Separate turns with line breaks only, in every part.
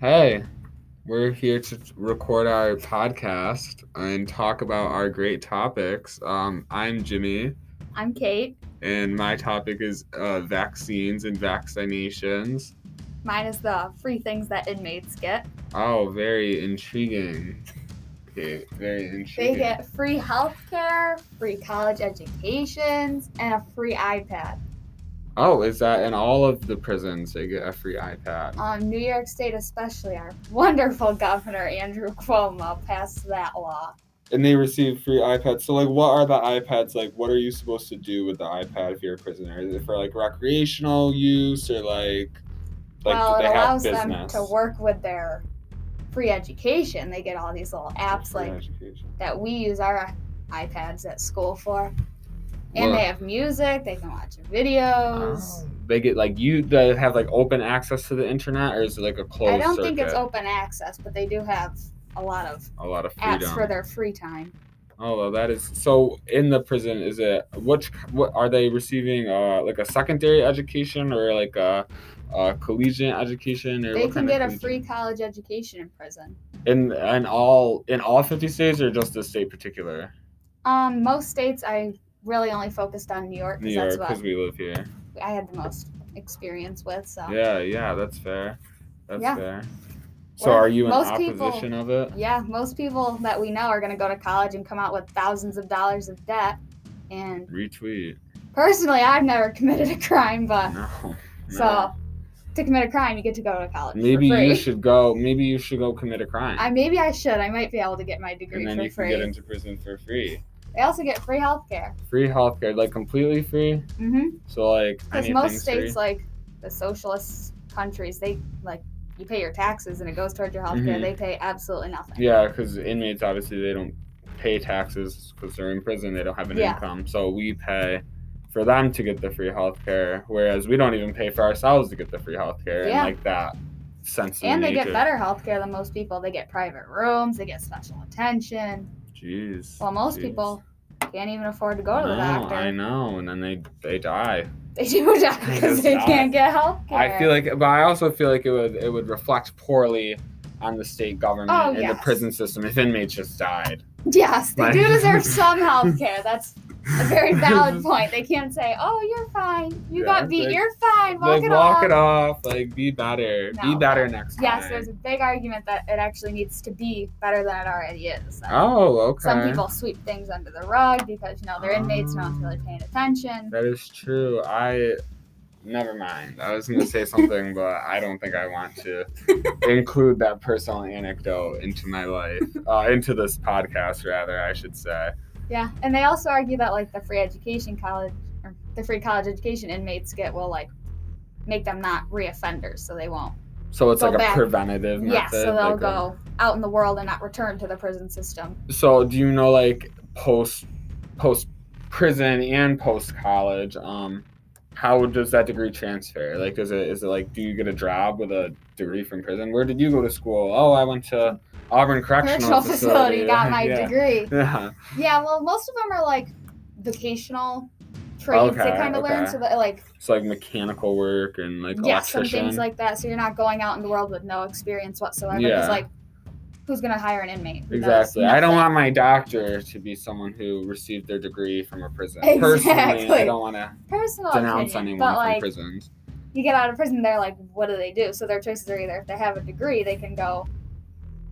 Hey, we're here to record our podcast and talk about our great topics. Um, I'm Jimmy,
I'm Kate.
and my topic is uh, vaccines and vaccinations.
Mine is the free things that inmates get.
Oh, very intriguing. Okay, very intriguing.
They get free healthcare, free college educations, and a free iPad.
oh, is that in all of the prisons they get a free iPad?
Um, New York State, especially our wonderful governor Andrew Cuomo, passed that law.
And they receive free iPads. So, like, what are the iPads like? What are you supposed to do with the iPad if you're a prisoner? Is it for like recreational use or like, like
well,
do
it
they have
allows them
business?
to work with their free education. They get all these little apps
Free
like
education.
that we use our iPads at school for. And
Well-
they have music. They can watch videos.
They get like you they have like open access to the internet, or is it like a closed?
I don't think it's
circuit?
open access, but they do have a lot of
a lot of
apps
freedom.
for their free time.
oh, well, that is so. In the prison, is it what? What are they receiving? Uh, like a secondary education or like a, a collegiate education or
They
what kind
can get
of
a free
collegiate-
college education in prison.
in in all in all fifty states or just the state particular?
Um, most states I really only focused on New York
New
because
York, because
that's what
we live here.
I had the most experience with. So
Yeah, yeah, that's fair. That's
Yeah.
fair. So
Well,
are you in
most people-
opposition of it?
Yeah, most people that we know are going to go to college and come out with thousands of dollars of debt. And
Retweet.
personally, I've never committed a crime, but
No. no.
so to commit a crime, you get to go to college
Maybe
for free.
you should go. Maybe you should go commit a crime,
I maybe I should. I might be able to get my degree
and then
for
you
free.
can get into prison for free.
They also get free healthcare.
Free healthcare, like completely free.
Mm-hmm.
So like
Because
anything's
most states,
free.
like the socialist countries, they like you pay your taxes and it goes toward your healthcare.
Mhm.
They pay absolutely nothing.
Yeah, because inmates obviously they don't pay taxes because they're in prison. They don't have an
Yeah.
income, so we pay for them to get the free healthcare, whereas we don't even pay for ourselves to get the free healthcare. And
Yeah.
like that sense of
and they
nature.
get better healthcare than most people. They get private rooms. They get special attention.
Jeez.
Well, most
jeez.
people can't even afford to go to
no,
the doctor.
I know, and then they they die.
They do die
They
because
just
they
die.
can't get healthcare.
I feel like, but I also feel like it would it would reflect poorly on the state government
Oh,
and the
yes.
prison system if inmates just died.
yes, they
Like-
do deserve some healthcare. That's a very valid point. They can't say, "Oh, you're fine. You
Yeah,
got beat.
they-
you're fine. Walk
like
it
walk
off."
it off. Like be better. be
No.
better next
Yes,
time.
there's a big argument that it actually needs to be better than it already is.
Oh, okay. Oh.
Some people sweep things under the rug because you know they're inmates, no one's really paying attention.
That is true. I never mind. I was gonna say something, but I don't think I want to include that personal anecdote into my life, uh, into this podcast rather, I should say.
Yeah, and they also argue that like the free education college or the free college education inmates get will like make them not reoffenders, so they won't.
So it's
Go
like
back.
a preventative
yeah,
method.
so they'll
like a-
go out in the world and not return to the prison system.
so do you know like post post prison and post college um how does that degree transfer like is it is it like do you get a job with a degree from prison where did you go to school oh i went to auburn correctional
Correctional facility got my
yeah.
degree.
yeah
Yeah, well, most of them are like vocational trades they
Okay,
kind of learn,
okay.
so that like
so like mechanical work and like
yeah, some
electrician
things like that. So you're not going out in the world with no experience whatsoever.
Yeah.
Because like, who's gonna hire an inmate? who knows
exactly i don't
nothing?
want my doctor to be someone who received their degree from a prison personally i
Exactly.
don't want to
personal
denounce
opinion,
anyone
but
from
like,
prisons
you get out of prison, they're like, what do they do? So their choices are either if they have a degree, they can go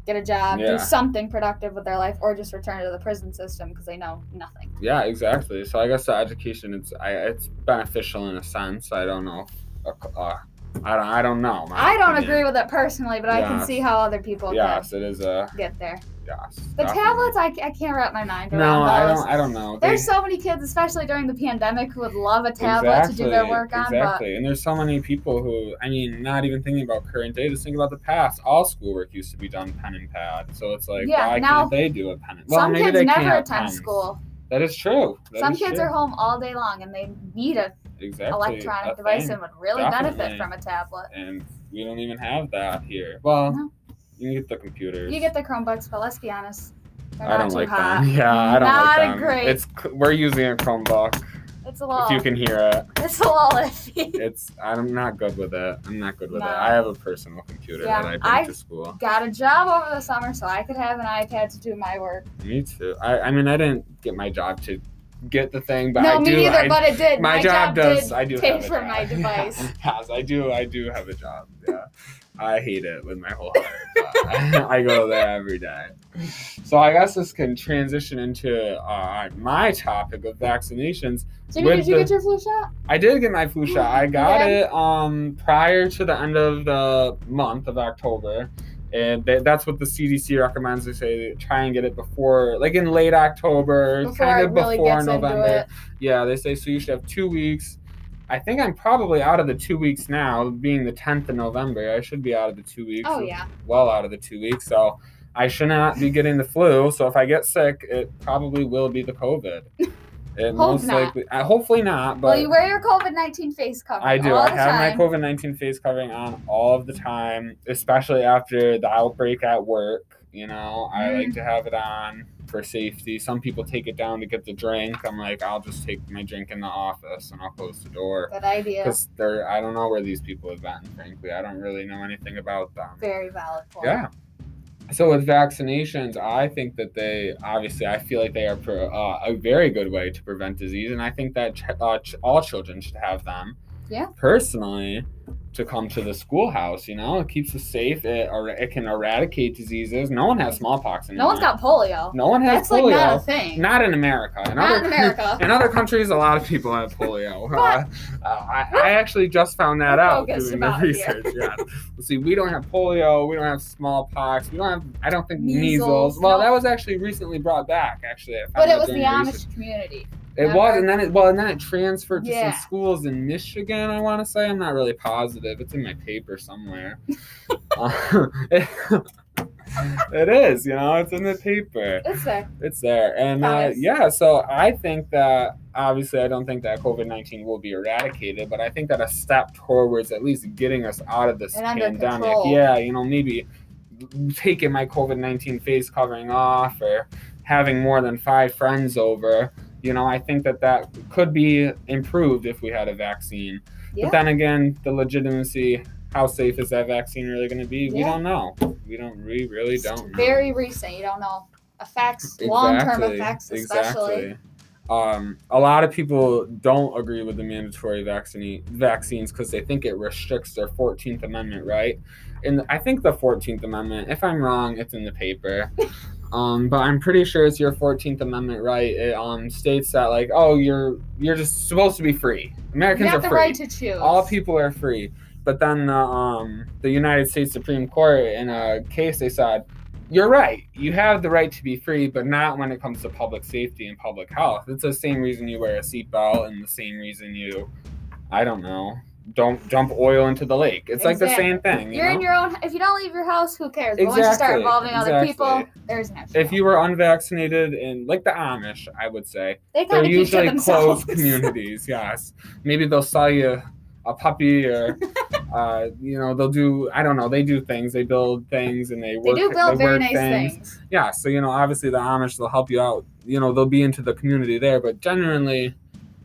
get a job,
Yeah.
do something productive with their life, or just return to the prison system because they know nothing.
Yeah, exactly. So I guess the education it's I, it's beneficial in a sense. I don't know. Uh, uh, I don't. I don't know. my
I don't
opinion.
agree with it personally, but I can
Yes.
see how other people
Yes, it is a
can get there.
yes.
The
definitely.
tablets, I, I can't wrap my mind
No,
around
I
those.
don't. I don't know.
There's
They-
so many kids, especially during the pandemic, who would love a tablet to do their
Exactly,
work on, but
Exactly. And there's so many people who, I mean, not even thinking about current day, just think about the past. All schoolwork used to be done pen and pad. So it's like,
Yeah,
why
now-
can't they do a pen and well,
some
maybe
kids
they can't
never
have
attend
pens.
school.
That is true. That
some
is
kids
true.
are home all day long and they need an
exactly
electronic
a
device
thing.
and would really
Definitely.
benefit from a tablet.
and we don't even have that here. Well,
No.
you can get the computers.
You get the Chromebooks, but let's be honest, they're
I
not
don't
too
like
hot.
them. Yeah, I don't
Not
like
a
them.
great-
It's we're using a Chromebook.
It's a little.
If you can hear it,
It's a little iffy.
it's I'm not good with it. I'm not good with
No.
it. I have a personal computer
Yeah,
that I bring
I-
to school.
Got a job over the summer, so I could have an iPad to do my work.
Me too. I, I mean, I didn't get my job to get the thing, but
no,
I
me
do.
neither.
I,
but it did.
my, job, does.
Did
I do
pay
have a
for
job.
my device.
yes, I do. I do have a job. Yeah, I hate it with my whole heart. but I go there every day. So I guess this can transition into uh, my topic of vaccinations.
Jimmy,
with
did you
the-
get your flu shot?
I did get my flu shot. I got
Yeah.
it um prior to the end of the month of October, and tha- that's what the CDC recommends. They say try and get it before, like in late October,
Before
kind
it
of
really
before
gets into
November.
it.
Yeah, they say so. You should have two weeks. I think I'm probably out of the two weeks now, being the 10th of November. I should be out of the two weeks.
Oh yeah.
Well, out of the two weeks. So I should not be getting the flu. So if I get sick, it probably will be the COVID. It most
not.
likely, I, hopefully not. But
well, you wear your COVID nineteen face cover.
I do.
All
I
the
have
time.
my COVID 19 face covering on all of the time, especially after the outbreak at work. You know, I
Mm-hmm.
like to have it on for safety. Some people take it down to get the drink. I'm like, I'll just take my drink in the office and I'll close the door.
Good idea.
Because they're, I don't know where these people have been, frankly. I don't really know anything about them.
Very valid point.
Yeah. So with vaccinations, I think that they obviously I feel like they are pro, uh, a very good way to prevent disease, and I think that ch- uh, ch- all children should have them.
Yeah.
Personally, to come to the schoolhouse, you know, it keeps us safe. It er- it can eradicate diseases. No one has smallpox anymore.
No one's got polio.
No one has
That's
polio.
like not a thing.
Not in America. In
Not
other,
in America.
in other countries, a lot of people have polio. Uh, uh, I, I actually just found that
We're
out
focused
doing the
about here.
research. Yeah. Let's see, we don't have polio. We don't have smallpox. We don't have. I don't think measles.
Measles,
Well,
no.
that was actually recently brought back. Actually, I found
But
that
it was
during
the
research.
Amish community.
It was, and then it well, and then it transferred to
Yeah.
some schools in Michigan. I want to say I'm not really positive. It's in my paper somewhere. Uh, it- it is, you know, it's in the paper
It's there.
it's there and uh,
Nice.
yeah so i think that obviously i don't think that covid-19 will be eradicated but i think that a step towards at least getting us out of this
And under
pandemic
control.
yeah you know maybe taking my covid-19 face covering off or having more than five friends over you know i think that that could be improved if we had a vaccine
Yeah.
but then again the legitimacy how safe is that vaccine really going to be we
Yeah.
don't know we don't we really
It's
don't know.
Very recent. You don't know effects, long-term effects, especially.
Exactly. Um, a lot of people don't agree with the mandatory vaccine vaccines because they think it restricts their Fourteenth Amendment right. And I think the Fourteenth Amendment, if I'm wrong, it's in the paper. Um, but I'm pretty sure it's your Fourteenth Amendment right. It um, states that like, oh, you're you're just supposed to be free.
You
Americans
have
are
the
free
right to choose.
all people are free. But then the um, the United States Supreme Court, in a case, they said, "You're right. You have the right to be free, but not when it comes to public safety and public health. It's the same reason you wear a seatbelt, and the same reason you, I don't know, don't dump oil into the lake. It's like the
Exactly.
same thing. You
You're
know?
in your own. If you don't leave your house, who cares? But once you start
Exactly,
involving other people,
exactly.
there's no.
if you were unvaccinated and like the Amish, I would say
they kind
They're
of keep to
usually
themselves.
closed communities. Yes, maybe they'll sell you a puppy, or uh, you know, they'll do. I don't know. They do things. They build things, and they
they
work.
do build very
work
nice things.
Yeah. So you know, obviously the Amish will help you out. You know, they'll be into the community there, but generally,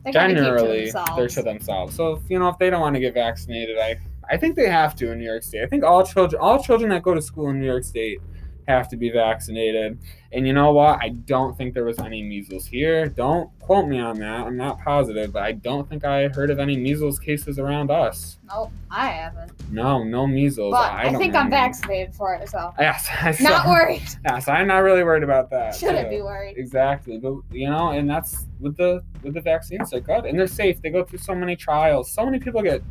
They kind of keep to
generally, they're
themselves.
to themselves. So if, you know, if they don't want to get vaccinated, I I think they have to in New York State. I think all children all children that go to school in New York State have to be vaccinated. And you know what? I don't think there was any measles here. Don't quote me on that. I'm not positive, but I don't think I heard of any measles cases around us.
Nope, I haven't.
No, no measles.
But I,
don't
think I'm
remember.
vaccinated for it, so
Yes, I
not
saw-
worried.
yes, I'm not really worried about that.
Shouldn't
too.
be worried.
Exactly, but you know, and that's with the with the vaccines. They're good and they're safe. They go through so many trials. So many people get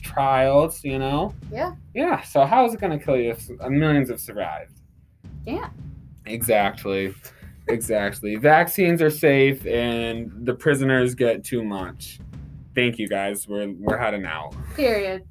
trials. You know.
Yeah.
Yeah. So how is it going to kill you if uh, millions have survived?
Yeah.
Exactly. Exactly. Vaccines are safe, and the prisoners get too much. Thank you guys. We're we're heading out.
Period.